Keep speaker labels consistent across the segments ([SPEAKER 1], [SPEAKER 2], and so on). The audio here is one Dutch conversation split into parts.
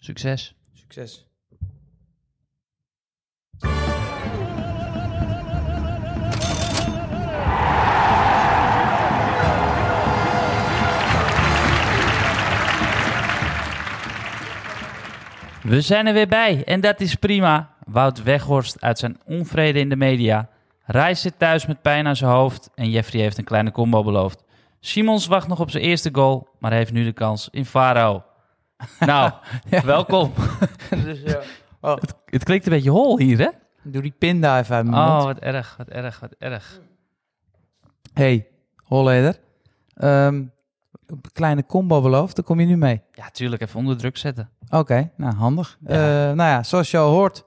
[SPEAKER 1] Succes.
[SPEAKER 2] Succes.
[SPEAKER 1] We zijn er weer bij en dat is prima. Wout Weghorst uit zijn onvrede in de media. Reis zit thuis met pijn aan zijn hoofd en Jeffrey heeft een kleine combo beloofd. Simons wacht nog op zijn eerste goal, maar heeft nu de kans in Faro. Nou, welkom.
[SPEAKER 2] dus, ja. oh,
[SPEAKER 1] Het klinkt een beetje hol hier, hè?
[SPEAKER 2] doe die pinda even uit mijn
[SPEAKER 1] Oh,
[SPEAKER 2] mond.
[SPEAKER 1] wat erg, wat erg, wat erg.
[SPEAKER 2] hey, Holleder. Ehm, kleine combo beloofd, daar kom je nu mee.
[SPEAKER 1] Ja, tuurlijk, even onder druk zetten.
[SPEAKER 2] Oké, nou handig.
[SPEAKER 1] Ja.
[SPEAKER 2] Eh, nou ja, zoals je al hoort,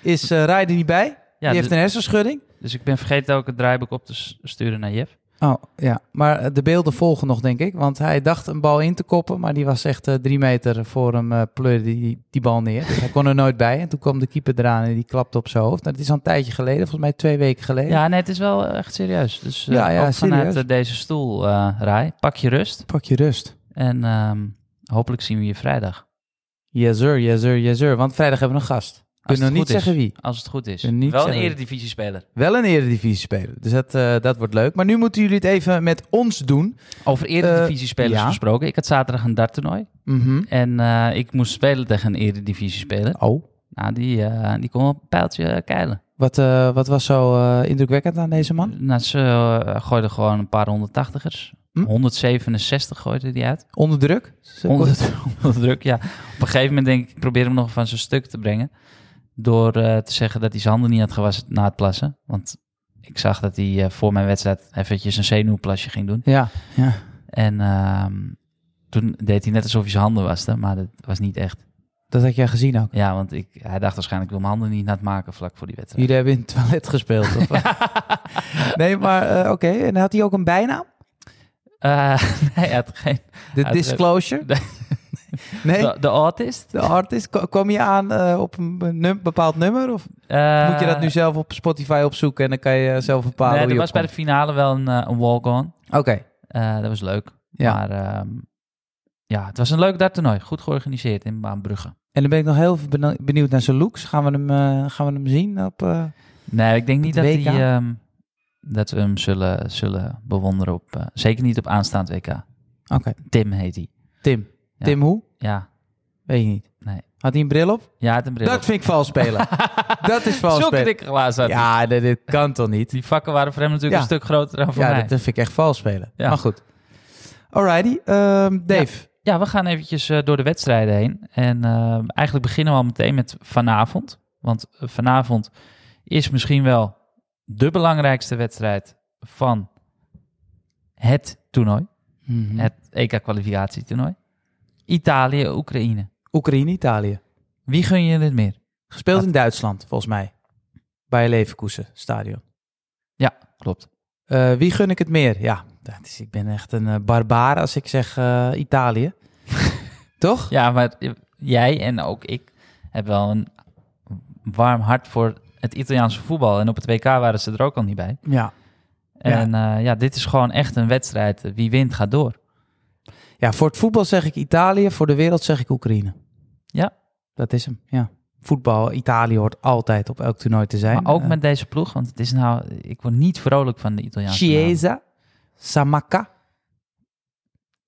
[SPEAKER 2] is eh Rijden niet bij.
[SPEAKER 1] Ja,
[SPEAKER 2] die
[SPEAKER 1] dus,
[SPEAKER 2] heeft een hersenschudding.
[SPEAKER 1] dus ik ben vergeten ook het draaiboek op te s- sturen naar Jeff.
[SPEAKER 2] Oh ja, maar eh, de beelden volgen nog, denk ik. Want hij dacht een bal in te koppen, maar die was echt eh, drie meter voor hem. eh pleurde die, die bal neer. Dus hij kon er nooit bij. En toen kwam de keeper eraan en die klapte op zijn hoofd. Nou, dat is al een tijdje geleden, volgens mij twee weken geleden.
[SPEAKER 1] Ja, nee, het is wel echt serieus. Dus eh,
[SPEAKER 2] Ja, ja,
[SPEAKER 1] ook vanuit
[SPEAKER 2] serieus.
[SPEAKER 1] eh, deze stoel, eh Rai, pak je rust.
[SPEAKER 2] Pak je rust.
[SPEAKER 1] En ehm, hopelijk zien we je vrijdag.
[SPEAKER 2] Yes sir, yes sir, yes sir. Want vrijdag hebben we een gast.
[SPEAKER 1] het
[SPEAKER 2] Kunnen
[SPEAKER 1] goed
[SPEAKER 2] we niet
[SPEAKER 1] is.
[SPEAKER 2] zeggen wie.
[SPEAKER 1] Als het goed is.
[SPEAKER 2] Ik ben niet
[SPEAKER 1] Wel een
[SPEAKER 2] zeker.
[SPEAKER 1] eredivisie-speler.
[SPEAKER 2] Wel een eredivisie speler. Dus dat, eh, dat wordt leuk. Maar nu moeten jullie het even met ons doen.
[SPEAKER 1] Over eredivisie-spelers
[SPEAKER 2] Eh, ja. gesproken,
[SPEAKER 1] gesproken. Ik had zaterdag een darttoernooi.
[SPEAKER 2] Mhm.
[SPEAKER 1] En eh, ik moest spelen tegen een eredivisie-speler.
[SPEAKER 2] Oh,
[SPEAKER 1] Nou, die, die kon wel een pijltje keilen.
[SPEAKER 2] wat, eh, wat was zo eh, indrukwekkend aan deze man?
[SPEAKER 1] Nou, ze eh, gooiden gewoon een paar 180ers.
[SPEAKER 2] Hm?
[SPEAKER 1] 167 gooide die uit.
[SPEAKER 2] Onder druk? Ze-
[SPEAKER 1] Onder, onder druk, ja. Op een gegeven moment denk ik, ik probeer hem nog van zijn stuk te brengen. Door eh, te zeggen dat hij zijn handen niet had gewassen na het plassen. Want ik zag dat hij eh, voor mijn wedstrijd eventjes een zenuwplasje ging doen.
[SPEAKER 2] Ja, ja.
[SPEAKER 1] En ehm, toen deed hij net alsof hij zijn handen waste, maar dat was niet echt.
[SPEAKER 2] Dat had jij gezien ook.
[SPEAKER 1] Ja, want ik, hij dacht waarschijnlijk, ik wil mijn handen niet nat maken vlak voor die wedstrijd.
[SPEAKER 2] Jullie hebben in het toilet gespeeld. Of? nee, maar eh, oké. En had hij ook een bijnaam?
[SPEAKER 1] Eh, nee, hij had geen...
[SPEAKER 2] De
[SPEAKER 1] Uiteraard.
[SPEAKER 2] Disclosure?
[SPEAKER 1] Nee.
[SPEAKER 2] Nee?
[SPEAKER 1] De, de autist?
[SPEAKER 2] De artist? Ko- Kwam je aan eh, op een num- bepaald nummer? Of
[SPEAKER 1] Eh,
[SPEAKER 2] moet je dat nu zelf op Spotify opzoeken en dan kan je eh, zelf bepalen
[SPEAKER 1] Nee,
[SPEAKER 2] hoe
[SPEAKER 1] er
[SPEAKER 2] je
[SPEAKER 1] was bij de
[SPEAKER 2] opkomt?
[SPEAKER 1] finale wel een, eh, een walk-on.
[SPEAKER 2] Oké,
[SPEAKER 1] Eh, dat was leuk.
[SPEAKER 2] ja.
[SPEAKER 1] Maar ehm, ja, het was een leuk darttoernooi. Goed georganiseerd in Baanbrugge.
[SPEAKER 2] En dan ben ik nog heel beno- benieuwd naar zijn looks. Gaan we hem, eh, gaan we hem zien op... eh,
[SPEAKER 1] Nee, ik denk niet dat,
[SPEAKER 2] Het WK?
[SPEAKER 1] die, ehm, dat we hem zullen, zullen bewonderen op... eh, zeker niet op aanstaand WK.
[SPEAKER 2] Oké,
[SPEAKER 1] Tim heet hij.
[SPEAKER 2] Tim.
[SPEAKER 1] Ja.
[SPEAKER 2] Tim hoe?
[SPEAKER 1] Ja,
[SPEAKER 2] Weet je niet.
[SPEAKER 1] Nee.
[SPEAKER 2] Had hij een bril op?
[SPEAKER 1] ja, hij had een bril.
[SPEAKER 2] Dat vind ik vals spelen. dat is vals
[SPEAKER 1] Zulke
[SPEAKER 2] spelen.
[SPEAKER 1] dikke glazen had hij.
[SPEAKER 2] Ja, dit, dit kan toch niet?
[SPEAKER 1] Die vakken waren voor hem natuurlijk
[SPEAKER 2] Ja.
[SPEAKER 1] een stuk groter dan voor
[SPEAKER 2] Ja,
[SPEAKER 1] mij.
[SPEAKER 2] dat vind ik echt vals spelen.
[SPEAKER 1] Ja.
[SPEAKER 2] Maar goed. Alrighty, ehm, Dave.
[SPEAKER 1] Ja, we gaan eventjes eh, door de wedstrijden heen. En eh, eigenlijk beginnen we al meteen met vanavond. Want eh, vanavond is misschien wel de belangrijkste wedstrijd van het toernooi. Het EK-kwalificatietoernooi. Italië, Oekraïne.
[SPEAKER 2] Oekraïne, Italië.
[SPEAKER 1] Wie gun je het meer?
[SPEAKER 2] Gespeeld
[SPEAKER 1] Wat?
[SPEAKER 2] in Duitsland, volgens mij. Bij Leverkusen Stadion.
[SPEAKER 1] Klopt.
[SPEAKER 2] Eh, wie gun ik het meer? Ja, dat is, ik ben echt een eh, barbaar als ik zeg eh, Italië. Toch?
[SPEAKER 1] Ja, maar eh, jij en ook ik hebben wel een warm hart voor het Italiaanse voetbal. En op het WK waren ze er ook al niet bij.
[SPEAKER 2] Ja.
[SPEAKER 1] En ja, ja dit is gewoon echt een wedstrijd. Wie wint, gaat door.
[SPEAKER 2] Ja, voor het voetbal zeg ik Italië, voor de wereld zeg ik Oekraïne.
[SPEAKER 1] Ja.
[SPEAKER 2] Dat is hem, ja. Voetbal, Italië hoort altijd op elk toernooi te zijn.
[SPEAKER 1] Maar ook
[SPEAKER 2] Eh,
[SPEAKER 1] met deze ploeg, want het is nou, ik word niet vrolijk van de Italiaanse namen.
[SPEAKER 2] Chiesa, Samaka,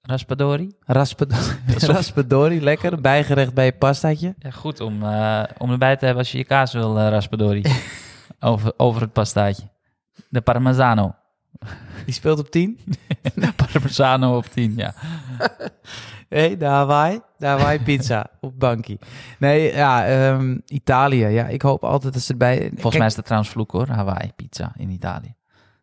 [SPEAKER 1] Raspadori.
[SPEAKER 2] Rasped- Raspadori, lekker. Bijgerecht bij je pastaatje.
[SPEAKER 1] Ja, goed om, eh, om erbij te hebben als je je kaas wil, eh, Raspadori. over, over het pastaatje. De Parmesano.
[SPEAKER 2] Die speelt op 10.
[SPEAKER 1] Parmesano op 10, ja.
[SPEAKER 2] Hé, de Hawaii, de Hawaii pizza op bankie. Nee, ja, ehm, Italië. Ja, ik hoop altijd dat ze erbij...
[SPEAKER 1] Volgens mij is dat trouwens vloek hoor, Hawaii pizza in Italië.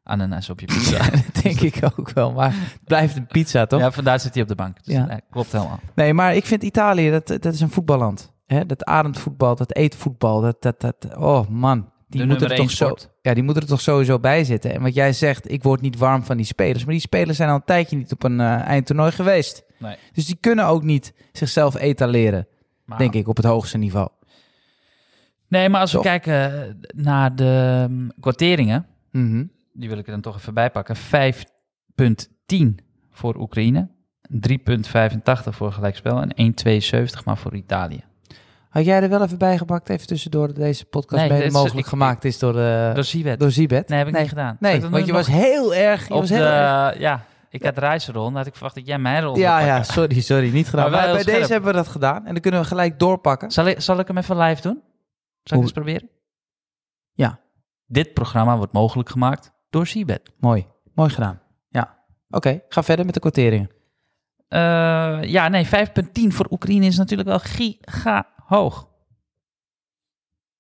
[SPEAKER 1] Ananas op je pizza.
[SPEAKER 2] mij denk ik ook wel, maar het blijft een pizza, toch?
[SPEAKER 1] ja, vandaar zit hij op de bank. Dus,
[SPEAKER 2] Ja.
[SPEAKER 1] nee, klopt helemaal.
[SPEAKER 2] Nee, maar ik vind Italië, dat, dat is een voetballand. Hè? Dat ademt voetbal, dat eet voetbal, dat, dat, dat... Oh, man. Die
[SPEAKER 1] De
[SPEAKER 2] moeten er
[SPEAKER 1] nummer
[SPEAKER 2] toch
[SPEAKER 1] één
[SPEAKER 2] zo...
[SPEAKER 1] sport.
[SPEAKER 2] Ja, die moeten er toch sowieso bij zitten. En wat jij zegt, ik word niet warm van die spelers. Maar die spelers zijn al een tijdje niet op een eh, eindtoernooi geweest.
[SPEAKER 1] Nee.
[SPEAKER 2] Dus die kunnen ook niet zichzelf etaleren,
[SPEAKER 1] Maar-
[SPEAKER 2] denk ik, op het hoogste niveau.
[SPEAKER 1] Nee, maar als we
[SPEAKER 2] Toch?
[SPEAKER 1] kijken eh, naar de mm, kwarteringen,
[SPEAKER 2] Mhm.
[SPEAKER 1] die wil ik er dan toch even bij pakken. 5,10 voor Oekraïne, 3,85 voor gelijkspel en 1,72 maar voor Italië.
[SPEAKER 2] Had jij er wel even bij gepakt, even tussendoor, dat deze podcast
[SPEAKER 1] Nee,
[SPEAKER 2] mede
[SPEAKER 1] dit is-
[SPEAKER 2] mogelijk
[SPEAKER 1] ik-
[SPEAKER 2] gemaakt is door, eh
[SPEAKER 1] Door Siewet.
[SPEAKER 2] door Zibet?
[SPEAKER 1] Nee, heb ik
[SPEAKER 2] nee.
[SPEAKER 1] niet gedaan.
[SPEAKER 2] Nee,
[SPEAKER 1] Heb ik dat
[SPEAKER 2] want
[SPEAKER 1] nu
[SPEAKER 2] je
[SPEAKER 1] nog
[SPEAKER 2] was heel erg... Je
[SPEAKER 1] op
[SPEAKER 2] was heel
[SPEAKER 1] de,
[SPEAKER 2] erg-
[SPEAKER 1] Ja, ik had reizenrol. Had ik verwacht dat jij mijn rol
[SPEAKER 2] ja,
[SPEAKER 1] zou
[SPEAKER 2] ja,
[SPEAKER 1] pakken.
[SPEAKER 2] sorry, sorry, niet
[SPEAKER 1] Maar
[SPEAKER 2] gedaan.
[SPEAKER 1] wel
[SPEAKER 2] Maar, bij
[SPEAKER 1] heel scherp.
[SPEAKER 2] deze hebben we dat gedaan en dan kunnen we gelijk doorpakken.
[SPEAKER 1] Zal ik, zal ik hem even live doen? Zal
[SPEAKER 2] Hoe-
[SPEAKER 1] ik eens proberen?
[SPEAKER 2] Ja.
[SPEAKER 1] Dit programma wordt mogelijk gemaakt door Seabed.
[SPEAKER 2] Mooi, mooi gedaan. Ja, oké, ga verder met de quoteringen.
[SPEAKER 1] Eh, ja, nee, 5.10 voor Oekraïne is natuurlijk wel giga hoog.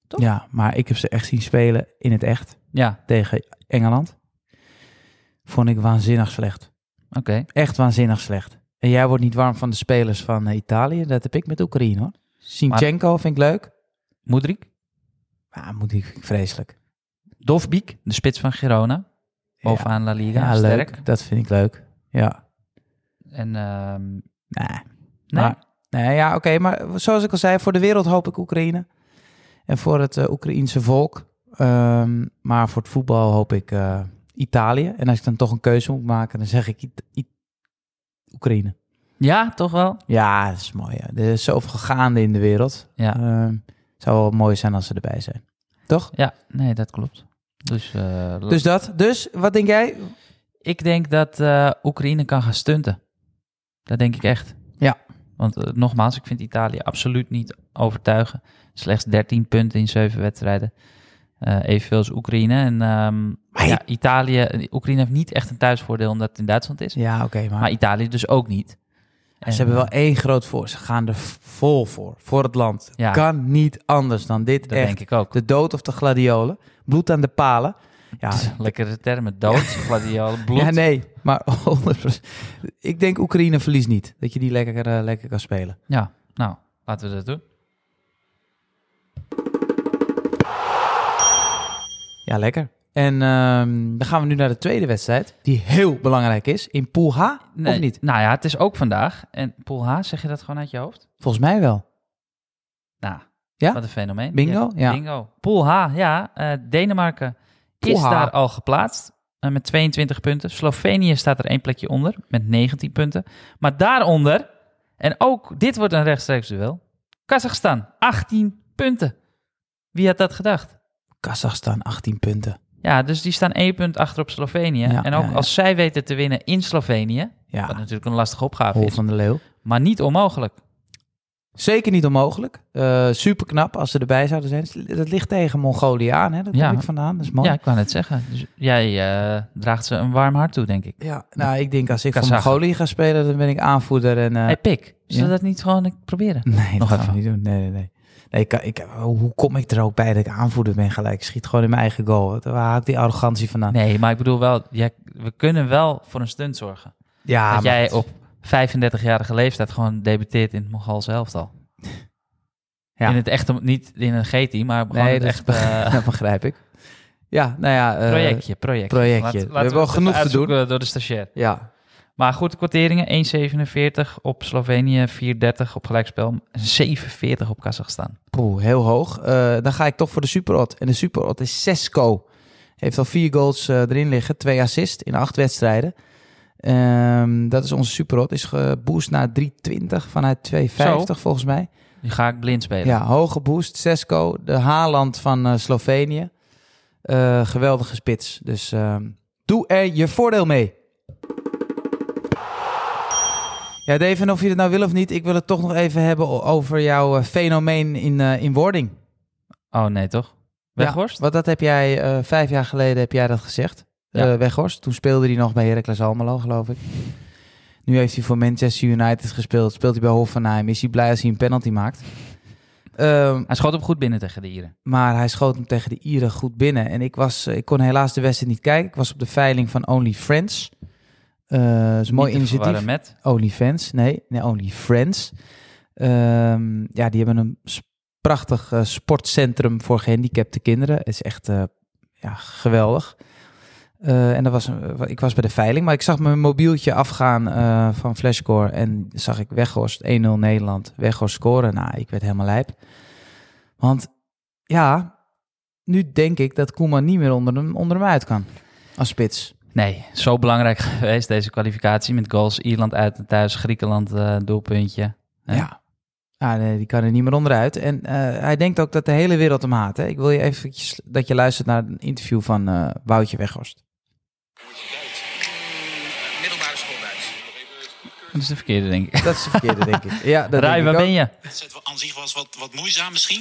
[SPEAKER 1] Toch?
[SPEAKER 2] Ja, maar ik heb ze echt zien spelen in het echt
[SPEAKER 1] Ja,
[SPEAKER 2] tegen Engeland. Vond ik waanzinnig slecht.
[SPEAKER 1] oké.
[SPEAKER 2] Echt waanzinnig slecht. En jij wordt niet warm van de spelers van eh, Italië. Dat heb ik met Oekraïne hoor. Sinchenko vind ik leuk.
[SPEAKER 1] Moedrik,
[SPEAKER 2] Ah, moet ik vind ik vreselijk.
[SPEAKER 1] Dovbik, de spits van Girona. Bovenaan La Liga,
[SPEAKER 2] ja,
[SPEAKER 1] sterk.
[SPEAKER 2] leuk. Dat vind ik leuk. Ja.
[SPEAKER 1] En, ehm, nee.
[SPEAKER 2] Nee. Maar, nee, ja, oké. maar zoals ik al zei, voor de wereld hoop ik Oekraïne. En voor het eh, Oekraïense volk. Ehm, maar voor het voetbal hoop ik eh, Italië. En als ik dan toch een keuze moet maken, dan zeg ik It- It- Oekraïne.
[SPEAKER 1] Ja, toch wel?
[SPEAKER 2] Ja, dat is mooi. ja. Er is zoveel gaande in de wereld.
[SPEAKER 1] Ja.
[SPEAKER 2] Ehm, zou wel mooi zijn als ze erbij zijn. Toch?
[SPEAKER 1] Ja, nee, dat klopt. Dus, eh, la-
[SPEAKER 2] Dus dat. Dus, wat denk jij?
[SPEAKER 1] ik denk dat eh, Oekraïne kan gaan stunten. Dat denk ik echt.
[SPEAKER 2] Ja.
[SPEAKER 1] Want eh, nogmaals, ik vind Italië absoluut niet overtuigen. Slechts 13 punten in 7 wedstrijden. Eh, evenveel als Oekraïne. En ehm,
[SPEAKER 2] Maar je-
[SPEAKER 1] ja, Italië, Oekraïne heeft niet echt een thuisvoordeel omdat het in Duitsland is.
[SPEAKER 2] Ja, oké. maar
[SPEAKER 1] Maar eh, Italië dus ook niet. En,
[SPEAKER 2] ze hebben wel één groot voor. Ze gaan er vol voor. Voor het land.
[SPEAKER 1] Ja.
[SPEAKER 2] Kan niet anders dan dit.
[SPEAKER 1] Dat
[SPEAKER 2] echt.
[SPEAKER 1] denk ik ook.
[SPEAKER 2] De dood of de gladiolen. Bloed aan de palen. Ja,
[SPEAKER 1] Ah, Lekkere termen. Dood, gladiolen, bloed.
[SPEAKER 2] ja nee, maar 100%. Ik denk Oekraïne verliest niet. Dat je die lekker, eh, lekker kan spelen.
[SPEAKER 1] Ja, nou, laten we dat doen.
[SPEAKER 2] Ja, lekker. En ehm, dan gaan we nu naar de tweede wedstrijd. Die heel belangrijk is. In Pool H,
[SPEAKER 1] Nee,
[SPEAKER 2] of niet?
[SPEAKER 1] Nou ja, het is ook vandaag. En Pool H, zeg je dat gewoon uit je hoofd?
[SPEAKER 2] Volgens mij wel.
[SPEAKER 1] Nou,
[SPEAKER 2] Ja?
[SPEAKER 1] wat een fenomeen.
[SPEAKER 2] Bingo? Ja.
[SPEAKER 1] Bingo. Pool H, ja. eh, Denemarken
[SPEAKER 2] Pool
[SPEAKER 1] is
[SPEAKER 2] H.
[SPEAKER 1] daar al geplaatst eh, met 22 punten. Slovenië staat er één plekje onder met 19 punten. Maar daaronder, en ook dit wordt een rechtstreeks duel, Kazachstan, 18 punten. Wie had dat gedacht?
[SPEAKER 2] Kazachstan, 18 punten.
[SPEAKER 1] Ja, dus die staan één punt achter op Slovenië.
[SPEAKER 2] Ja,
[SPEAKER 1] en ook
[SPEAKER 2] ja, ja.
[SPEAKER 1] als zij weten te winnen in Slovenië, wat
[SPEAKER 2] Ja,
[SPEAKER 1] natuurlijk een lastige opgave
[SPEAKER 2] hol
[SPEAKER 1] is,
[SPEAKER 2] van de leeuw.
[SPEAKER 1] maar niet onmogelijk.
[SPEAKER 2] Zeker niet onmogelijk. super knap als ze erbij zouden zijn. Dat ligt tegen Mongolië aan, hè? dat
[SPEAKER 1] Ja.
[SPEAKER 2] heb ik vandaan. Dat is mooi.
[SPEAKER 1] Ja, ik wou net zeggen. Dus jij eh, draagt ze een warm hart toe, denk ik.
[SPEAKER 2] Ja, nou, ik denk als ik voor
[SPEAKER 1] Kazachstan.
[SPEAKER 2] Mongolië ga spelen, dan ben ik aanvoerder. En, eh,
[SPEAKER 1] hey, Pik, zullen we
[SPEAKER 2] ja.
[SPEAKER 1] dat niet gewoon eh, proberen?
[SPEAKER 2] Nee,
[SPEAKER 1] Nog
[SPEAKER 2] dat gaan
[SPEAKER 1] even.
[SPEAKER 2] we niet doen. Nee, nee, nee. nee ik, kan- ik, oh, hoe kom ik er ook bij dat ik aanvoerder ben gelijk? Ik schiet gewoon in mijn eigen goal. Waar haal ik die arrogantie vandaan?
[SPEAKER 1] Nee, maar ik bedoel wel, jij- we kunnen wel voor een stunt zorgen.
[SPEAKER 2] Ja,
[SPEAKER 1] dat
[SPEAKER 2] Ah, maar-
[SPEAKER 1] jij op 35-jarige leeftijd gewoon debuteert in het Mongoolse elftal.
[SPEAKER 2] Ja.
[SPEAKER 1] In het echte, niet in een GT, maar gewoon
[SPEAKER 2] Nee,
[SPEAKER 1] het
[SPEAKER 2] dat-
[SPEAKER 1] echte eh,
[SPEAKER 2] dat begrijp ik. Ja, nou ja. eh,
[SPEAKER 1] projectje, projectje.
[SPEAKER 2] projectje.
[SPEAKER 1] Laat-
[SPEAKER 2] We
[SPEAKER 1] laten
[SPEAKER 2] hebben wel
[SPEAKER 1] het
[SPEAKER 2] genoeg te
[SPEAKER 1] uitzoeken Door de stagiair.
[SPEAKER 2] Ja,
[SPEAKER 1] Maar goed, de kwarteringen 1,47 op Slovenië, 4,30 op gelijkspel, 7,40 op Kazachstan.
[SPEAKER 2] poeh, heel hoog. Eh, dan ga ik toch voor de superot. En de superot is Sesco. Heeft al vier goals eh, erin liggen. Twee assists in acht wedstrijden. Ehm, dat is onze superot. Is geboost naar 3,20 vanuit 2,50 volgens mij.
[SPEAKER 1] Nu ga ik blind spelen.
[SPEAKER 2] Ja, hoge boost. Sesko, de Haaland van eh, Slovenië. Eh, geweldige spits. Dus ehm, doe er je voordeel mee. Ja, Dave, en of je het nou wil of niet, ik wil het toch nog even hebben o- over jouw eh, fenomeen in, eh, in wording.
[SPEAKER 1] Oh nee, toch? Weghorst?
[SPEAKER 2] Ja, want dat heb jij eh, vijf jaar geleden heb jij dat gezegd.
[SPEAKER 1] Ja.
[SPEAKER 2] Eh, Weghorst. Toen speelde hij nog bij Heracles Almelo, geloof ik. Nu heeft hij voor Manchester United gespeeld. Speelt hij bij Hoffenheim. Is hij blij als hij een penalty maakt? Ehm,
[SPEAKER 1] Hij schoot hem goed binnen tegen de Ieren.
[SPEAKER 2] Maar hij schoot hem tegen de Ieren goed binnen. En ik, was, eh, ik kon helaas de wedstrijd niet kijken. Ik was op de veiling van OnlyFriends. Eh dat is een mooi
[SPEAKER 1] Niet te
[SPEAKER 2] initiatief.
[SPEAKER 1] verwarren Met.
[SPEAKER 2] OnlyFans, nee, nee OnlyFriends. Ehm, ja, die hebben een s- prachtig eh, sportcentrum voor gehandicapte kinderen. Het is echt eh, ja, geweldig. Eh, en dat was een, ik was bij de veiling, maar ik zag mijn mobieltje afgaan eh, van Flashcore. En zag ik Weghorst 1-0 Nederland. Weghorst scoren. Nou, ik werd helemaal lijp. Want ja, nu denk ik dat Koeman niet meer onder hem, onder hem uit kan. Als spits.
[SPEAKER 1] Nee, zo belangrijk geweest deze kwalificatie met goals. Ierland uit en thuis, Griekenland eh, doelpuntje. Ja.
[SPEAKER 2] Ja. Ah, nee, die kan er niet meer onderuit. En eh, hij denkt ook dat de hele wereld hem haat. Hè? Ik wil je eventjes dat je luistert naar een interview van eh Woutje Weghorst.
[SPEAKER 3] Middelbare school Duits.
[SPEAKER 1] Dat is de verkeerde, denk ik.
[SPEAKER 2] Dat is de verkeerde, denk ik. Ja, dat
[SPEAKER 1] Rai,
[SPEAKER 2] denk
[SPEAKER 1] waar
[SPEAKER 2] ik
[SPEAKER 1] ben je?
[SPEAKER 3] Het zet wel aan zich was wat, wat moeizaam misschien.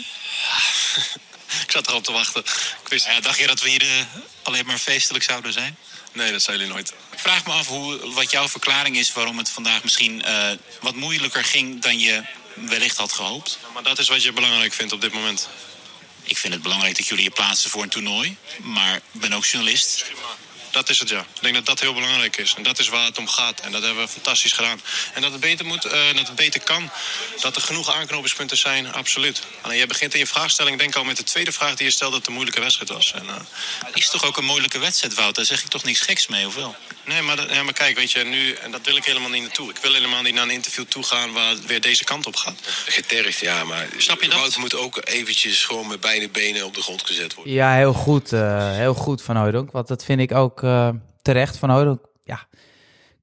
[SPEAKER 3] ik zat erop te wachten. Ik wist... ja, dacht je dat we hier eh, alleen maar feestelijk zouden zijn? Nee, dat zijn jullie nooit. Ik vraag me af hoe, wat jouw verklaring is waarom het vandaag misschien eh, wat moeilijker ging dan je wellicht had gehoopt.
[SPEAKER 4] Maar dat is wat je belangrijk vindt op dit moment.
[SPEAKER 3] Ik vind het belangrijk dat jullie je plaatsen voor een toernooi. Maar ik ben ook journalist.
[SPEAKER 4] Dat is het, ja. Ik denk dat dat heel belangrijk is. En dat is waar het om gaat. En dat hebben we fantastisch gedaan. En dat het beter moet, eh, dat het beter kan. Dat er genoeg aanknopingspunten zijn, absoluut. Alleen jij begint in je vraagstelling, denk al met de tweede vraag die je stelde, dat het een moeilijke wedstrijd was. En, eh,
[SPEAKER 3] Het is toch ook een moeilijke wedstrijd, Wout? Daar zeg ik toch niks geks mee, of wel?
[SPEAKER 4] nee, maar, dat- ja, maar kijk, weet je, nu, en dat wil ik helemaal niet naartoe. Ik wil helemaal niet naar een interview toe gaan waar het weer deze kant op gaat.
[SPEAKER 5] Getergd, ja, maar
[SPEAKER 4] Snap je dat?
[SPEAKER 5] Wout moet ook eventjes gewoon met beide benen op de grond gezet worden.
[SPEAKER 2] Ja, heel goed. eh, heel goed van Hooydonk. Want dat vind ik ook eh, terecht van Hooydonk. Ja,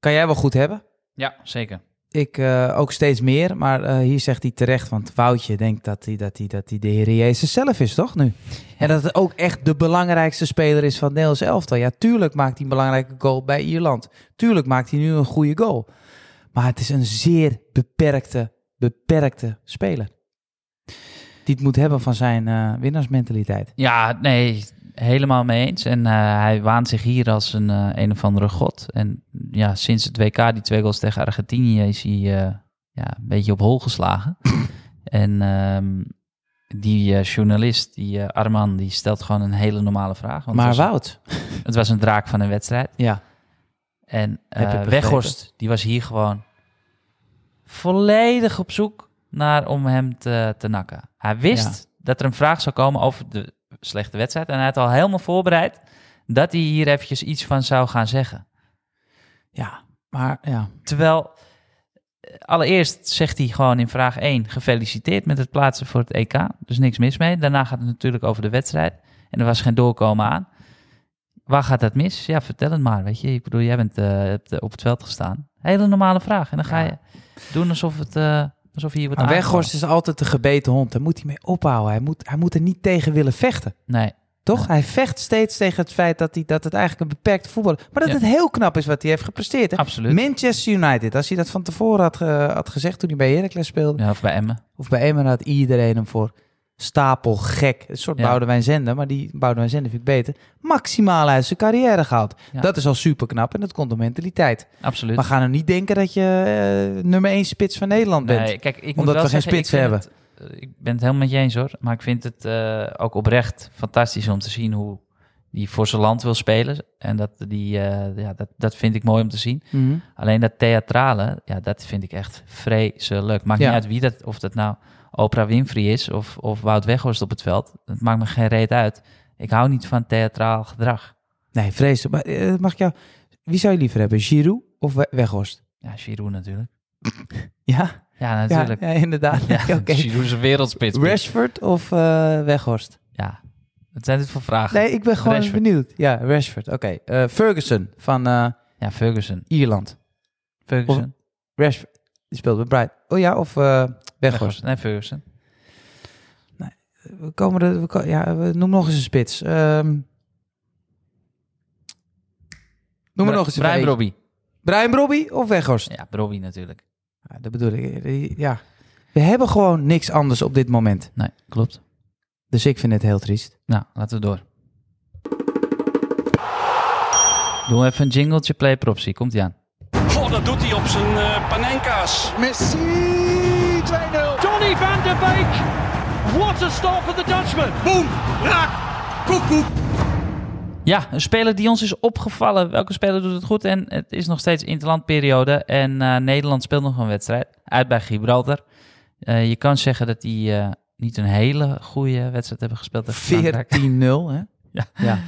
[SPEAKER 2] kan jij wel goed hebben.
[SPEAKER 1] Ja, zeker.
[SPEAKER 2] Ik eh, ook steeds meer. Maar eh, hier zegt hij terecht. Want Woutje denkt dat hij, dat, hij, dat hij de Heer Jezus zelf is, toch nu? En dat het ook echt de belangrijkste speler is van het Nederlands elftal. Ja, tuurlijk maakt hij een belangrijke goal bij Ierland. Tuurlijk maakt hij nu een goede goal. Maar het is een zeer beperkte, beperkte speler. Die het moet hebben van zijn eh, winnaarsmentaliteit.
[SPEAKER 1] Ja, nee, helemaal mee eens. En eh, hij waant zich hier als een, eh, een of andere god. En ja, sinds het WK, die twee goals tegen Argentinië, is hij eh, ja, een beetje op hol geslagen. en ehm, die eh, journalist, die eh, Arman, die stelt gewoon een hele normale vraag. Want
[SPEAKER 2] Maar
[SPEAKER 1] het, was,
[SPEAKER 2] Wout,
[SPEAKER 1] het was een draak van een wedstrijd.
[SPEAKER 2] ja.
[SPEAKER 1] En eh,
[SPEAKER 2] Heb ik begrepen.
[SPEAKER 1] Weghorst, die was hier gewoon volledig op zoek naar om hem te, te nakken. Hij wist dat er een vraag zou komen over de slechte wedstrijd. En hij had al helemaal voorbereid dat hij hier eventjes iets van zou gaan zeggen.
[SPEAKER 2] Ja, maar ja.
[SPEAKER 1] Terwijl, eh, allereerst zegt hij gewoon in vraag 1... gefeliciteerd met het plaatsen voor het EK. Dus niks mis mee. Daarna gaat het natuurlijk over de wedstrijd. En er was geen doorkomen aan. Waar gaat dat mis? Ja, vertel het maar, weet je. Ik bedoel, jij bent eh, op de- op het veld gestaan. Hele normale vraag. En dan ga
[SPEAKER 2] Ja.
[SPEAKER 1] je doen alsof, het, eh, alsof je hier wordt
[SPEAKER 2] Maar Weghorst
[SPEAKER 1] aangevallen.
[SPEAKER 2] is altijd de gebeten hond. Daar moet hij mee ophouden. Hij moet, hij moet er niet tegen willen vechten.
[SPEAKER 1] Nee,
[SPEAKER 2] Toch? Hij vecht steeds tegen het feit dat, hij, dat het eigenlijk een beperkt voetbal is. Maar dat
[SPEAKER 1] Ja.
[SPEAKER 2] het heel knap is wat hij heeft gepresteerd. Hè?
[SPEAKER 1] absoluut.
[SPEAKER 2] Manchester United, als hij dat van tevoren had, ge- had gezegd toen hij bij Heracles speelde.
[SPEAKER 1] Ja, of bij Emmen.
[SPEAKER 2] Of bij Emmen had iedereen hem voor stapel gek. Een soort
[SPEAKER 1] Ja.
[SPEAKER 2] Boudewijn Zender, maar die Boudewijn Zender vind ik beter. Maximaal uit zijn carrière gehaald.
[SPEAKER 1] Ja.
[SPEAKER 2] Dat is al super knap en dat komt door mentaliteit.
[SPEAKER 1] Absoluut.
[SPEAKER 2] Maar ga nou niet denken dat je eh, nummer 1 spits van Nederland bent.
[SPEAKER 1] Nee, kijk, ik moet
[SPEAKER 2] Omdat
[SPEAKER 1] wel
[SPEAKER 2] we geen
[SPEAKER 1] zeggen, ik
[SPEAKER 2] spits
[SPEAKER 1] vind het- eh, ik ben het helemaal met je eens hoor. Maar ik vind het eh, ook oprecht fantastisch om te zien hoe die voor zijn land wil spelen. En dat, die, eh, ja, dat, dat vind ik mooi om te zien.
[SPEAKER 2] Mhm.
[SPEAKER 1] Alleen dat theatrale, ja, dat vind ik echt vreselijk. Maakt
[SPEAKER 2] Ja.
[SPEAKER 1] niet uit wie dat, of dat nou Oprah Winfrey is of, of Wout Weghorst op het veld. Het maakt me geen reet uit. Ik hou niet van theatraal gedrag.
[SPEAKER 2] Nee, vreselijk. Maar eh, mag ik jou... Wie zou je liever hebben, Giroud of We- Weghorst?
[SPEAKER 1] Ja, Giroud natuurlijk.
[SPEAKER 2] Ja,
[SPEAKER 1] Ja,
[SPEAKER 2] ja,
[SPEAKER 1] natuurlijk.
[SPEAKER 2] ja, inderdaad.
[SPEAKER 1] Ja,
[SPEAKER 2] Oké.
[SPEAKER 1] Giroud is een wereldspits.
[SPEAKER 2] Rashford of eh, Weghorst?
[SPEAKER 1] Ja, wat zijn dit voor vragen?
[SPEAKER 2] Nee, ik ben gewoon
[SPEAKER 1] Rashford.
[SPEAKER 2] benieuwd. Ja, Rashford. Oké. Eh, Ferguson van eh,
[SPEAKER 1] Ja, Ferguson.
[SPEAKER 2] Ierland.
[SPEAKER 1] Ferguson.
[SPEAKER 2] Rashford. Die speelt bij Bright. Oh ja, of eh, Weghorst.
[SPEAKER 1] Weghorst. Nee, Ferguson.
[SPEAKER 2] We komen er... We ko- ja, we- noem nog eens een spits. Ehm, noem
[SPEAKER 1] Bra-
[SPEAKER 2] maar nog eens een
[SPEAKER 1] Brian
[SPEAKER 2] spits.
[SPEAKER 1] Brobby.
[SPEAKER 2] Brian Brobby of Weghorst?
[SPEAKER 1] Ja, Brobby natuurlijk.
[SPEAKER 2] Ja, dat bedoel ik. Eh, Ja. We hebben gewoon niks anders op dit moment.
[SPEAKER 1] Nee, klopt.
[SPEAKER 2] Dus ik vind het heel triest.
[SPEAKER 1] Nou, laten we door. Doe even een jingletje play propsie. Komt ie aan.
[SPEAKER 6] Goh, dat doet hij op zijn eh, panenka's.
[SPEAKER 7] Messi 2-0.
[SPEAKER 6] Donny van de Beek. What a start for the Dutchman.
[SPEAKER 1] Ja, een speler die ons is opgevallen. Welke speler doet het goed? En het is nog steeds interlandperiode. En eh, Nederland speelt nog een wedstrijd. Uit bij Gibraltar. Eh, je kan zeggen dat die eh, niet een hele goede wedstrijd hebben gespeeld. tegen Frankrijk.
[SPEAKER 2] 14-0, hè?
[SPEAKER 1] Ja.
[SPEAKER 2] ja.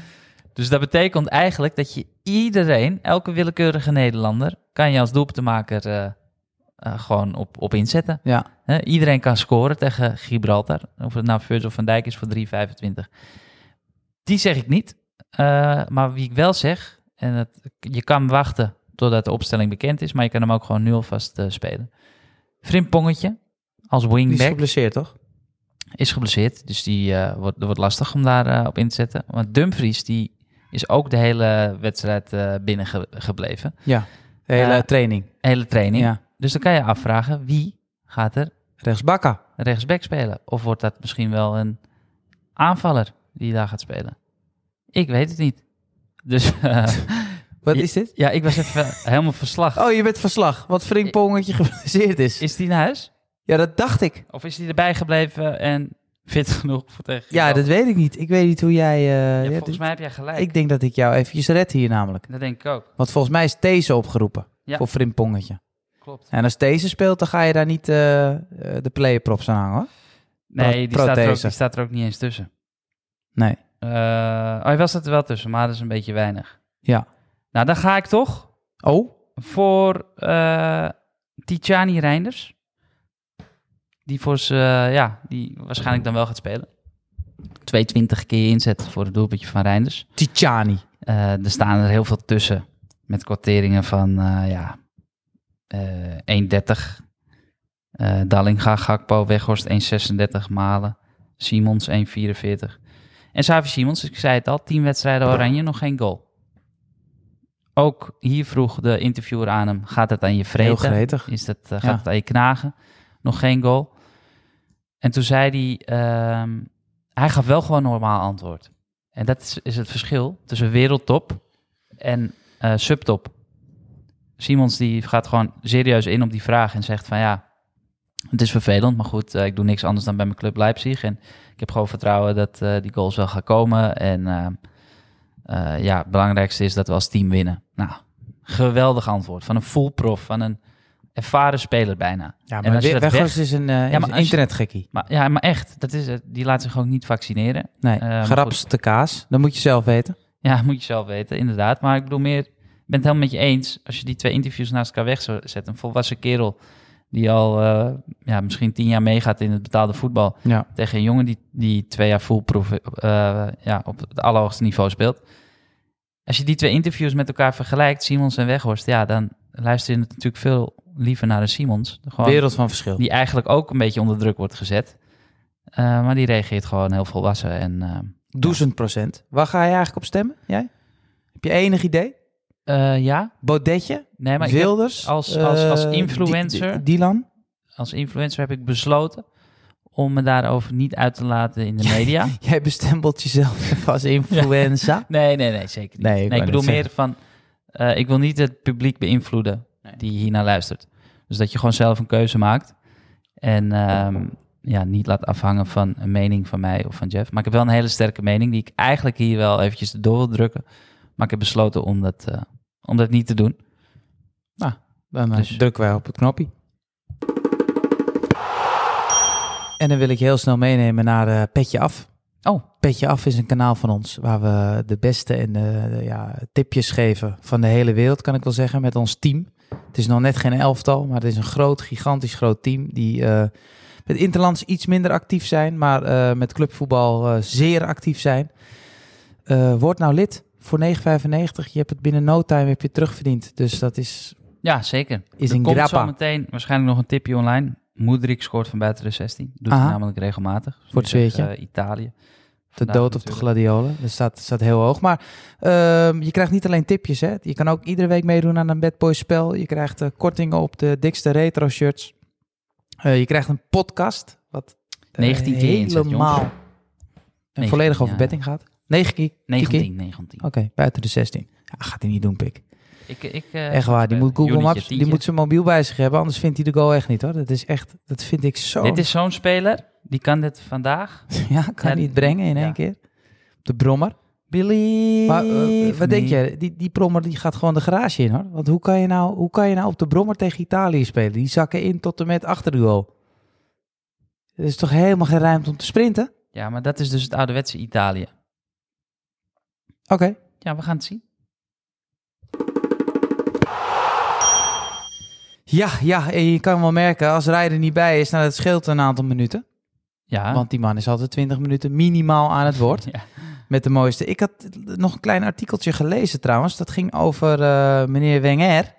[SPEAKER 1] Dus dat betekent eigenlijk dat je iedereen, elke willekeurige Nederlander, kan je als doelpuntenmaker eh, eh, gewoon op, op inzetten.
[SPEAKER 2] Ja.
[SPEAKER 1] Hè, iedereen kan scoren tegen Gibraltar. Of het nou Virgil van Dijk is voor 3,25. Die zeg ik niet. Eh, maar wie ik wel zeg, en dat, je kan wachten totdat de opstelling bekend is, maar je kan hem ook gewoon nu alvast eh, spelen. Frimpongetje, als
[SPEAKER 2] Die is
[SPEAKER 1] wingback.
[SPEAKER 2] geblesseerd, toch?
[SPEAKER 1] is geblesseerd, dus die eh, wordt, wordt lastig om daar eh, op in te zetten. Want Dumfries die is ook de hele wedstrijd eh binnen gebleven.
[SPEAKER 2] Ja. De hele
[SPEAKER 1] Ja.
[SPEAKER 2] training.
[SPEAKER 1] Hele training.
[SPEAKER 2] Ja.
[SPEAKER 1] Dus dan kan je afvragen wie gaat er
[SPEAKER 2] Rechtsbakka.
[SPEAKER 1] rechtsback spelen? Of wordt dat misschien wel een aanvaller die daar gaat spelen? Ik weet het niet. Dus eh,
[SPEAKER 2] Wat
[SPEAKER 1] Ja.
[SPEAKER 2] is dit?
[SPEAKER 1] ja, ik was even helemaal verslag.
[SPEAKER 2] Oh, je bent verslag. Wat Frink Pongetje geblesseerd is.
[SPEAKER 1] Is die naar huis?
[SPEAKER 2] Ja, dat dacht ik.
[SPEAKER 1] Of is die erbij gebleven en fit genoeg voor tegen?
[SPEAKER 2] Ja, dat
[SPEAKER 1] Zimbabwe?
[SPEAKER 2] weet ik niet. Ik weet niet hoe jij... eh,
[SPEAKER 1] Ja,
[SPEAKER 2] ja,
[SPEAKER 1] volgens
[SPEAKER 2] dit-
[SPEAKER 1] mij heb jij gelijk.
[SPEAKER 2] Ik denk dat ik jou eventjes red hier namelijk.
[SPEAKER 1] Dat denk ik ook.
[SPEAKER 2] Want volgens mij is deze opgeroepen
[SPEAKER 1] Ja.
[SPEAKER 2] voor Frimpongetje.
[SPEAKER 1] Klopt.
[SPEAKER 2] En als deze speelt, dan ga je daar niet eh, eh, de playerprops aan hangen. hoor.
[SPEAKER 1] Nee, die staat, er ook,
[SPEAKER 2] prothese.
[SPEAKER 1] die staat er ook niet eens tussen.
[SPEAKER 2] Nee.
[SPEAKER 1] Eh, oh, hij was het er wel tussen, maar dat is een beetje weinig.
[SPEAKER 2] Ja.
[SPEAKER 1] Nou, dan ga ik toch
[SPEAKER 2] Oh,
[SPEAKER 1] voor eh Tijani Reinders. Die, voor z'n, eh, ja, die waarschijnlijk dan wel gaat spelen. 220 keer inzet voor het doelpuntje van Reinders.
[SPEAKER 2] Titiani.
[SPEAKER 1] Eh, er staan er heel veel tussen. Met kwarteringen van eh, ja, eh 1,30. Eh Dallinga, Gakpo, Weghorst 1,36 malen. Simons 1,44. En Xavi Simons, ik zei het al, 10 wedstrijden oranje, nog geen goal. Ook hier vroeg de interviewer aan hem, gaat het aan je
[SPEAKER 2] Heel
[SPEAKER 1] vreten?
[SPEAKER 2] gretig.
[SPEAKER 1] Is dat, eh, gaat
[SPEAKER 2] Ja.
[SPEAKER 1] het aan je knagen? Nog geen goal. En toen zei hij, ehm, hij gaf wel gewoon een normaal antwoord. En dat is, is het verschil tussen wereldtop en eh, subtop. Simons die gaat gewoon serieus in op die vraag en zegt van ja, het is vervelend, maar goed, eh, ik doe niks anders dan bij mijn club Leipzig. En ik heb gewoon vertrouwen dat eh, die goals wel gaan komen. En eh, eh, ja, het belangrijkste is dat we als team winnen. Nou, geweldig antwoord van een full prof, van een ervaren speler bijna.
[SPEAKER 2] Ja,
[SPEAKER 1] En
[SPEAKER 2] maar
[SPEAKER 1] als je
[SPEAKER 2] we-
[SPEAKER 1] dat
[SPEAKER 2] Weghorst
[SPEAKER 1] weg-
[SPEAKER 2] is een eh,
[SPEAKER 1] Ja, maar
[SPEAKER 2] is een
[SPEAKER 1] als je-
[SPEAKER 2] internetgekkie.
[SPEAKER 1] Maar ja, maar echt, dat is het. Die laat zich ook niet vaccineren.
[SPEAKER 2] Nee,
[SPEAKER 1] Eh, maar
[SPEAKER 2] gerapste kaas. Dat moet je zelf weten.
[SPEAKER 1] Ja, moet je zelf weten, inderdaad. Maar ik bedoel meer, ik ben het helemaal met je eens. Als je die twee interviews naast elkaar weg zou zetten, een volwassen kerel die al eh, ja, misschien tien jaar meegaat in het betaalde voetbal,
[SPEAKER 2] Ja.
[SPEAKER 1] tegen een jongen die, die twee jaar fullproof eh, ja, op het allerhoogste niveau speelt. Als je die twee interviews met elkaar vergelijkt, Simons en Weghorst, ja, dan luister je natuurlijk veel liever naar de Simons. Gewoon,
[SPEAKER 2] Wereld van verschil.
[SPEAKER 1] die eigenlijk ook een beetje onder druk wordt gezet. Eh, maar die reageert gewoon heel volwassen en... eh,
[SPEAKER 2] Duizend procent. Waar ga je eigenlijk op stemmen? Jij? Heb je enig idee?
[SPEAKER 1] eh, ja,
[SPEAKER 2] Bodetje?
[SPEAKER 1] nee, maar ik heb-
[SPEAKER 2] Wilders?
[SPEAKER 1] als- als- als
[SPEAKER 2] eh, Di-
[SPEAKER 1] influencer-
[SPEAKER 2] Di- Dylan?
[SPEAKER 1] als influencer heb ik besloten om me daarover niet uit te laten in de media.
[SPEAKER 2] Jij bestempelt jezelf even als influenza.
[SPEAKER 1] Nee, nee, nee, zeker niet.
[SPEAKER 2] Nee, ik
[SPEAKER 1] Nee, ik,
[SPEAKER 2] wou net
[SPEAKER 1] bedoel meer van, eh, ik wil niet het publiek beïnvloeden die hiernaar luistert. Dus dat je gewoon zelf een keuze maakt en ehm, ja, niet laat afhangen van een mening van mij of van Jeff. Maar ik heb wel een hele sterke mening die ik eigenlijk hier wel eventjes door wil drukken. Maar ik heb besloten om dat, eh, om dat niet te doen.
[SPEAKER 2] Dan eh,
[SPEAKER 1] Dus-
[SPEAKER 2] drukken wij op het knopje. En dan wil ik je heel snel meenemen naar eh, Petje Af. Oh, Petje Af is een kanaal van ons waar we de beste en eh, de, ja, tipjes geven van de hele wereld, kan ik wel zeggen, met ons team. Het is nog net geen elftal, maar het is een groot, gigantisch groot team die eh, met Interlands iets minder actief zijn, maar eh, met clubvoetbal eh, zeer actief zijn. Eh, word nou lid voor 9,95. Je hebt het binnen no time heb je terugverdiend. Dus dat is
[SPEAKER 1] Ja, zeker.
[SPEAKER 2] Is
[SPEAKER 1] er
[SPEAKER 2] een
[SPEAKER 1] komt
[SPEAKER 2] grappa.
[SPEAKER 1] zo meteen waarschijnlijk nog een tipje online. Moedrik scoort van buiten de 16. Doet hij
[SPEAKER 2] Aha.
[SPEAKER 1] namelijk regelmatig. Dus
[SPEAKER 2] Voor het
[SPEAKER 1] nu tegen,
[SPEAKER 2] zweertje.
[SPEAKER 1] eh, Italië.
[SPEAKER 2] De
[SPEAKER 1] Vandaag
[SPEAKER 2] dood op de
[SPEAKER 1] natuurlijk.
[SPEAKER 2] gladiolen. Dus Dat staat, staat heel hoog. Maar ehm, je krijgt niet alleen tipjes. Hè? Je kan ook iedere week meedoen aan een Bad Boys spel. Je krijgt eh, kortingen op de dikste retro shirts. Eh, je krijgt een podcast. Wat eh,
[SPEAKER 1] 19 keer inzet, jongens.
[SPEAKER 2] helemaal en
[SPEAKER 1] 19,
[SPEAKER 2] volledig over
[SPEAKER 1] ja,
[SPEAKER 2] betting gaat. 9 keer?
[SPEAKER 1] 19, 19.
[SPEAKER 2] Oké, buiten de 16. Ja, gaat hij niet doen, pik.
[SPEAKER 1] Ik, ik, eh,
[SPEAKER 2] Echt waar, die moet Google
[SPEAKER 1] Junietje,
[SPEAKER 2] Maps, die
[SPEAKER 1] tientje.
[SPEAKER 2] moet zijn mobiel bij zich hebben, anders vindt hij de goal echt niet hoor. Dat is echt, dat vind ik zo.
[SPEAKER 1] Dit is zo'n speler, die kan dit vandaag.
[SPEAKER 2] ja, kan
[SPEAKER 1] Ja,
[SPEAKER 2] hij het brengen in
[SPEAKER 1] ja.
[SPEAKER 2] één keer. Op de brommer.
[SPEAKER 1] Billy.
[SPEAKER 2] Maar eh, wat denk je? Die, die brommer die gaat gewoon de garage in hoor. Want hoe kan, je nou, hoe kan je nou op de brommer tegen Italië spelen? Die zakken in tot en met achter de goal. Er is toch helemaal geen ruimte om te sprinten? Oké,
[SPEAKER 1] Ja, maar dat is dus het ouderwetse Italië. Ja, we gaan het zien.
[SPEAKER 2] ja, ja, en je kan wel merken als Rijder niet bij is, nou dat scheelt een aantal minuten.
[SPEAKER 1] Ja,
[SPEAKER 2] Want die man is altijd 20 minuten minimaal aan het woord.
[SPEAKER 1] Ah. Ja.
[SPEAKER 2] Met de mooiste. Ik had nog een klein artikeltje gelezen trouwens. Dat ging over eh, meneer Wenger,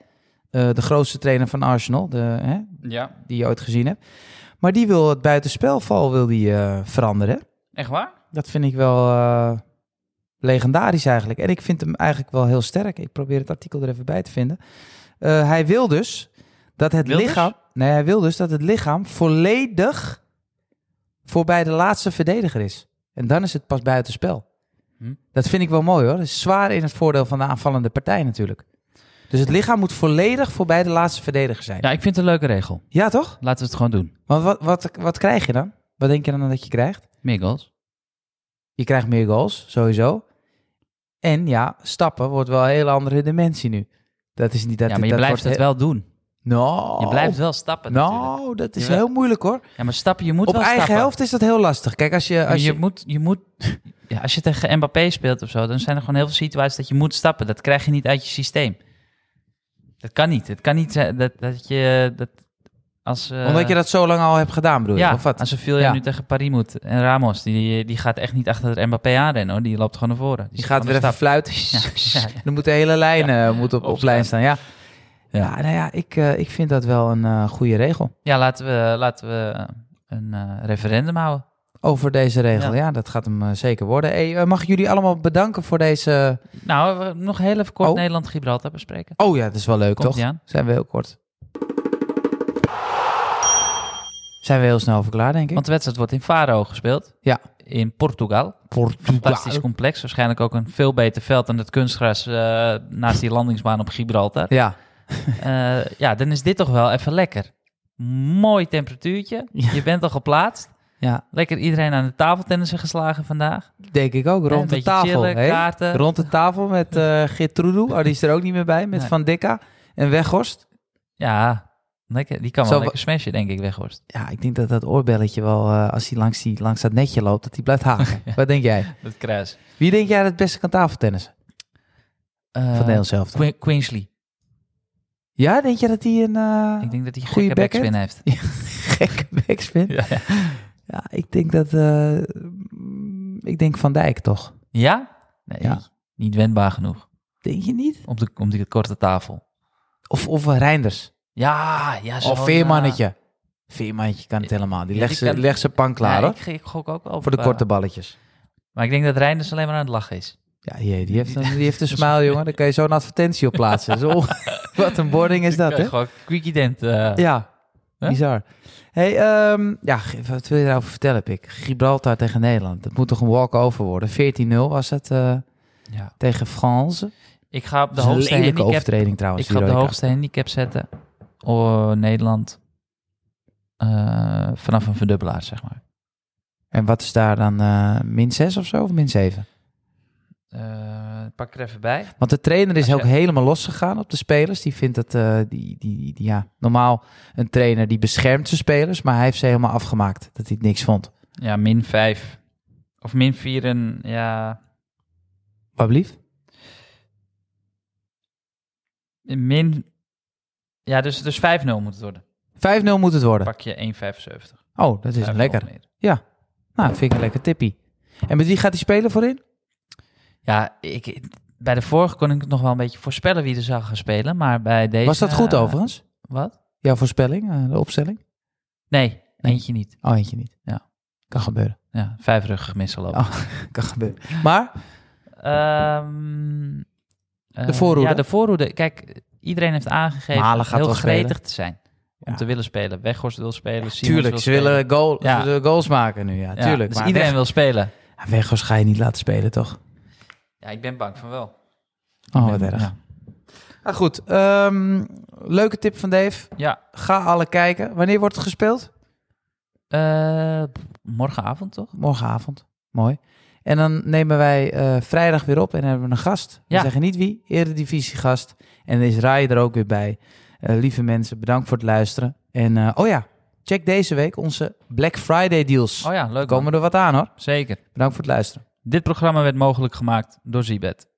[SPEAKER 2] eh, de grootste trainer van Arsenal. De, hè,
[SPEAKER 1] ja.
[SPEAKER 2] die je ooit gezien hebt. Maar die wil het buitenspelval wil die, eh, veranderen.
[SPEAKER 1] Echt waar?
[SPEAKER 2] Dat vind ik wel eh, legendarisch eigenlijk. En ik vind hem eigenlijk wel heel sterk. Ik probeer het artikel er even bij te vinden. Eh, hij wil dus dat het
[SPEAKER 1] Wil dus?
[SPEAKER 2] lichaam. Nee, hij wil dus dat het lichaam volledig voorbij de laatste verdediger is. En dan is het pas buitenspel.
[SPEAKER 1] Hm.
[SPEAKER 2] Dat vind ik wel mooi hoor. Dat is zwaar in het voordeel van de aanvallende partij natuurlijk. Dus het lichaam moet volledig voorbij de laatste verdediger zijn. Ja,
[SPEAKER 1] Ja, ik vind het een leuke regel.
[SPEAKER 2] toch?
[SPEAKER 1] Laten we het gewoon doen.
[SPEAKER 2] Want wat, wat, wat krijg je dan? Wat denk je dan dat je krijgt?
[SPEAKER 1] Meer goals.
[SPEAKER 2] Je krijgt meer goals, sowieso. En ja, stappen wordt wel een hele andere dimensie nu. Dat is niet dat
[SPEAKER 1] ja, maar je
[SPEAKER 2] dat
[SPEAKER 1] blijft het
[SPEAKER 2] wordt
[SPEAKER 1] wel doen.
[SPEAKER 2] he- Nou,
[SPEAKER 1] Je blijft wel stappen natuurlijk.
[SPEAKER 2] Nou, dat is
[SPEAKER 1] Jawel.
[SPEAKER 2] heel moeilijk hoor.
[SPEAKER 1] Ja, maar stappen, je moet
[SPEAKER 2] Op
[SPEAKER 1] wel
[SPEAKER 2] eigen
[SPEAKER 1] stappen.
[SPEAKER 2] helft is dat heel lastig. Kijk, als je.
[SPEAKER 1] Ja,
[SPEAKER 2] Als
[SPEAKER 1] je,
[SPEAKER 2] je,
[SPEAKER 1] moet, je moet, ja, als je tegen Mbappé speelt of zo, dan zijn er gewoon heel veel situaties dat je moet stappen. Dat krijg je niet uit je systeem. Dat kan niet. Het kan niet zijn dat, dat je dat als. eh,
[SPEAKER 2] omdat je dat zo lang al hebt gedaan, bedoel je?
[SPEAKER 1] ja,
[SPEAKER 2] of wat?
[SPEAKER 1] als Sevilla
[SPEAKER 2] Ja.
[SPEAKER 1] nu tegen Paris moet en Ramos, die, die gaat echt niet achter de Mbappé aanrennen hoor. Die loopt gewoon naar voren.
[SPEAKER 2] je
[SPEAKER 1] zet
[SPEAKER 2] gaat weer
[SPEAKER 1] gewoon
[SPEAKER 2] even
[SPEAKER 1] een stap.
[SPEAKER 2] fluiten.
[SPEAKER 1] Ja, ja, ja.
[SPEAKER 2] Dan moet de hele lijn eh, moet op, op
[SPEAKER 1] Opstaan.
[SPEAKER 2] lijn staan. Ja,
[SPEAKER 1] Ja.
[SPEAKER 2] ja. nou ja, ik, eh, ik vind dat wel een eh, goede regel.
[SPEAKER 1] Ja, laten we, laten we een eh, referendum houden.
[SPEAKER 2] Over deze regel.
[SPEAKER 1] Ja.
[SPEAKER 2] Ja, dat gaat hem eh, zeker worden. Hey, eh, mag ik jullie allemaal bedanken voor deze.
[SPEAKER 1] Nou, we- nog heel even kort
[SPEAKER 2] Oh.
[SPEAKER 1] Nederland-Gibraltar bespreken.
[SPEAKER 2] Oh ja, dat is wel leuk,
[SPEAKER 1] Komt
[SPEAKER 2] toch?
[SPEAKER 1] die aan?
[SPEAKER 2] Zijn we heel kort. Zijn we heel snel over klaar, denk ik.
[SPEAKER 1] Want de wedstrijd wordt in Faro gespeeld.
[SPEAKER 2] Ja.
[SPEAKER 1] In Portugal. Fantastisch complex. Waarschijnlijk ook een veel beter veld dan het kunstgras eh, naast die landingsbaan op Gibraltar.
[SPEAKER 2] Ja,
[SPEAKER 1] Eh, ja, dan is dit toch wel even lekker. Mooi temperatuurtje.
[SPEAKER 2] Ja.
[SPEAKER 1] Je bent al geplaatst.
[SPEAKER 2] ja,
[SPEAKER 1] Lekker iedereen aan de tafeltennissen geslagen vandaag.
[SPEAKER 2] denk ik ook. Rond de
[SPEAKER 1] beetje
[SPEAKER 2] tafel.
[SPEAKER 1] chillen,
[SPEAKER 2] hè?
[SPEAKER 1] kaarten.
[SPEAKER 2] Rond de tafel met eh Gertrude. Oh, die is er ook niet meer bij. Met
[SPEAKER 1] Nee.
[SPEAKER 2] Van Dikka en Weghorst.
[SPEAKER 1] Ja, lekker. die kan wel
[SPEAKER 2] Zo wa-
[SPEAKER 1] lekker smashen, denk ik, Weghorst.
[SPEAKER 2] Ja, ik denk dat dat oorbelletje wel, eh, als hij langs, die, langs dat netje loopt, dat hij blijft haken. Wat denk jij?
[SPEAKER 1] Dat kruis.
[SPEAKER 2] Wie denk jij dat het beste kan tafeltennissen
[SPEAKER 1] Eh,
[SPEAKER 2] van Nederland zelf?
[SPEAKER 1] Queen- Queensley.
[SPEAKER 2] Ja, denk je dat hij een eh,
[SPEAKER 1] Ik denk dat hij een
[SPEAKER 2] Goeie
[SPEAKER 1] gekke backspin
[SPEAKER 2] backhand.
[SPEAKER 1] heeft.
[SPEAKER 2] gekke backspin? Ja.
[SPEAKER 1] Ja?
[SPEAKER 2] ik denk dat... eh, mm, ik denk Van Dijk toch?
[SPEAKER 1] Nee,
[SPEAKER 2] Ja.
[SPEAKER 1] niet wendbaar genoeg.
[SPEAKER 2] Denk je niet?
[SPEAKER 1] Op, de, op die korte tafel.
[SPEAKER 2] Of, of eh, Reinders.
[SPEAKER 1] Ja, ja. zo,
[SPEAKER 2] Of
[SPEAKER 1] ja.
[SPEAKER 2] Veermannetje. Veermannetje kan het helemaal. Die
[SPEAKER 1] Ja,
[SPEAKER 2] legt
[SPEAKER 1] die
[SPEAKER 2] zijn
[SPEAKER 1] kan-
[SPEAKER 2] legt zijn pan klaar
[SPEAKER 1] Ja,
[SPEAKER 2] hoor.
[SPEAKER 1] ik, ik gok ook wel op,
[SPEAKER 2] Voor de
[SPEAKER 1] eh,
[SPEAKER 2] korte balletjes.
[SPEAKER 1] Maar ik denk dat Reinders alleen maar aan het lachen is.
[SPEAKER 2] Ja, jee, die, heeft een, die heeft een smile, jongen. Daar kan je zo'n advertentie op plaatsen. Zo, wat een boarding is dat, hè?
[SPEAKER 1] eh, Gewoon quickie dent. eh,
[SPEAKER 2] Ja,
[SPEAKER 1] Hè?
[SPEAKER 2] bizar. Hey, ehm, ja, ge- wat wil je daarover vertellen, Pik? Gibraltar tegen Nederland. Dat moet toch een walk-over worden? 14-0 was het eh,
[SPEAKER 1] ja.
[SPEAKER 2] tegen France.
[SPEAKER 1] Ik ga op de
[SPEAKER 2] Dat is een
[SPEAKER 1] hoogste
[SPEAKER 2] lelijke
[SPEAKER 1] handicap.
[SPEAKER 2] overtreding trouwens.
[SPEAKER 1] Ik ga op de
[SPEAKER 2] die rode
[SPEAKER 1] hoogste handicap zetten. Oh, Nederland. Eh, vanaf een verdubbelaar, zeg maar.
[SPEAKER 2] kaart. En wat is daar dan? eh, min 6 of zo? Of min 7?
[SPEAKER 1] Eh, pak ik er even bij.
[SPEAKER 2] Want de trainer is
[SPEAKER 1] Als
[SPEAKER 2] ook
[SPEAKER 1] je-
[SPEAKER 2] helemaal losgegaan op de spelers. Die vindt dat, eh, die, die, die- ja, normaal een trainer die beschermt zijn spelers, maar hij heeft ze helemaal afgemaakt. Dat hij het niks vond.
[SPEAKER 1] Ja, min 5. Of min 4 en ja.
[SPEAKER 2] Wat blieft?
[SPEAKER 1] Min. Ja, dus, dus 5-0 moet het worden.
[SPEAKER 2] 5-0 moet het worden.
[SPEAKER 1] Pak je 1,75.
[SPEAKER 2] Oh, dat is
[SPEAKER 1] Vijf
[SPEAKER 2] lekker.
[SPEAKER 1] of meer.
[SPEAKER 2] Nou, vind ik een lekker tippie. En met wie gaat hij spelen voorin?
[SPEAKER 1] Ja, ik, bij de vorige kon ik het nog wel een beetje voorspellen wie er zou gaan spelen. Maar bij deze.
[SPEAKER 2] Was dat goed
[SPEAKER 1] eh,
[SPEAKER 2] overigens?
[SPEAKER 1] Wat?
[SPEAKER 2] Jouw voorspelling, eh, de opstelling?
[SPEAKER 1] Nee, eentje niet.
[SPEAKER 2] Oh, eentje niet.
[SPEAKER 1] Ja.
[SPEAKER 2] Kan gebeuren.
[SPEAKER 1] Ja, vijfrug misgelopen.
[SPEAKER 2] Oh. Kan gebeuren. Maar,
[SPEAKER 1] Ehm, eh,
[SPEAKER 2] Ah. De voorhoede?
[SPEAKER 1] Ja, de voorhoede. Kijk, iedereen heeft aangegeven
[SPEAKER 2] Malen gaat
[SPEAKER 1] heel
[SPEAKER 2] wel
[SPEAKER 1] gretig
[SPEAKER 2] spelen.
[SPEAKER 1] te zijn. Om
[SPEAKER 2] Ja.
[SPEAKER 1] te willen spelen. Weghorst wil spelen. Simons
[SPEAKER 2] tuurlijk,
[SPEAKER 1] wil
[SPEAKER 2] ze willen goal,
[SPEAKER 1] Ja.
[SPEAKER 2] ze willen goals maken nu. Ja,
[SPEAKER 1] spelen. Ja,
[SPEAKER 2] tuurlijk.
[SPEAKER 1] dus
[SPEAKER 2] maar
[SPEAKER 1] iedereen
[SPEAKER 2] Weg,
[SPEAKER 1] wil spelen.
[SPEAKER 2] Ja, Weghorst ga je niet laten spelen, toch?
[SPEAKER 1] Ja, ik ben bang van wel.
[SPEAKER 2] Oh, wat erg.
[SPEAKER 1] Ja.
[SPEAKER 2] Ah, goed, ehm, leuke tip van Dave.
[SPEAKER 1] Ja.
[SPEAKER 2] Ga alle kijken. Wanneer wordt het gespeeld?
[SPEAKER 1] Eh, morgenavond toch?
[SPEAKER 2] Morgenavond. Mooi. En dan nemen wij eh, vrijdag weer op en hebben we een gast. We
[SPEAKER 1] Ja.
[SPEAKER 2] zeggen niet wie, eredivisiegast. En dan is Rai er ook weer bij. Eh, lieve mensen, bedankt voor het luisteren. En eh, oh ja, check deze week onze Black Friday deals.
[SPEAKER 1] Oh ja, leuk. man.
[SPEAKER 2] Komen er wat aan hoor.
[SPEAKER 1] Zeker.
[SPEAKER 2] Bedankt voor het luisteren.
[SPEAKER 1] Dit programma werd mogelijk gemaakt door Zibet.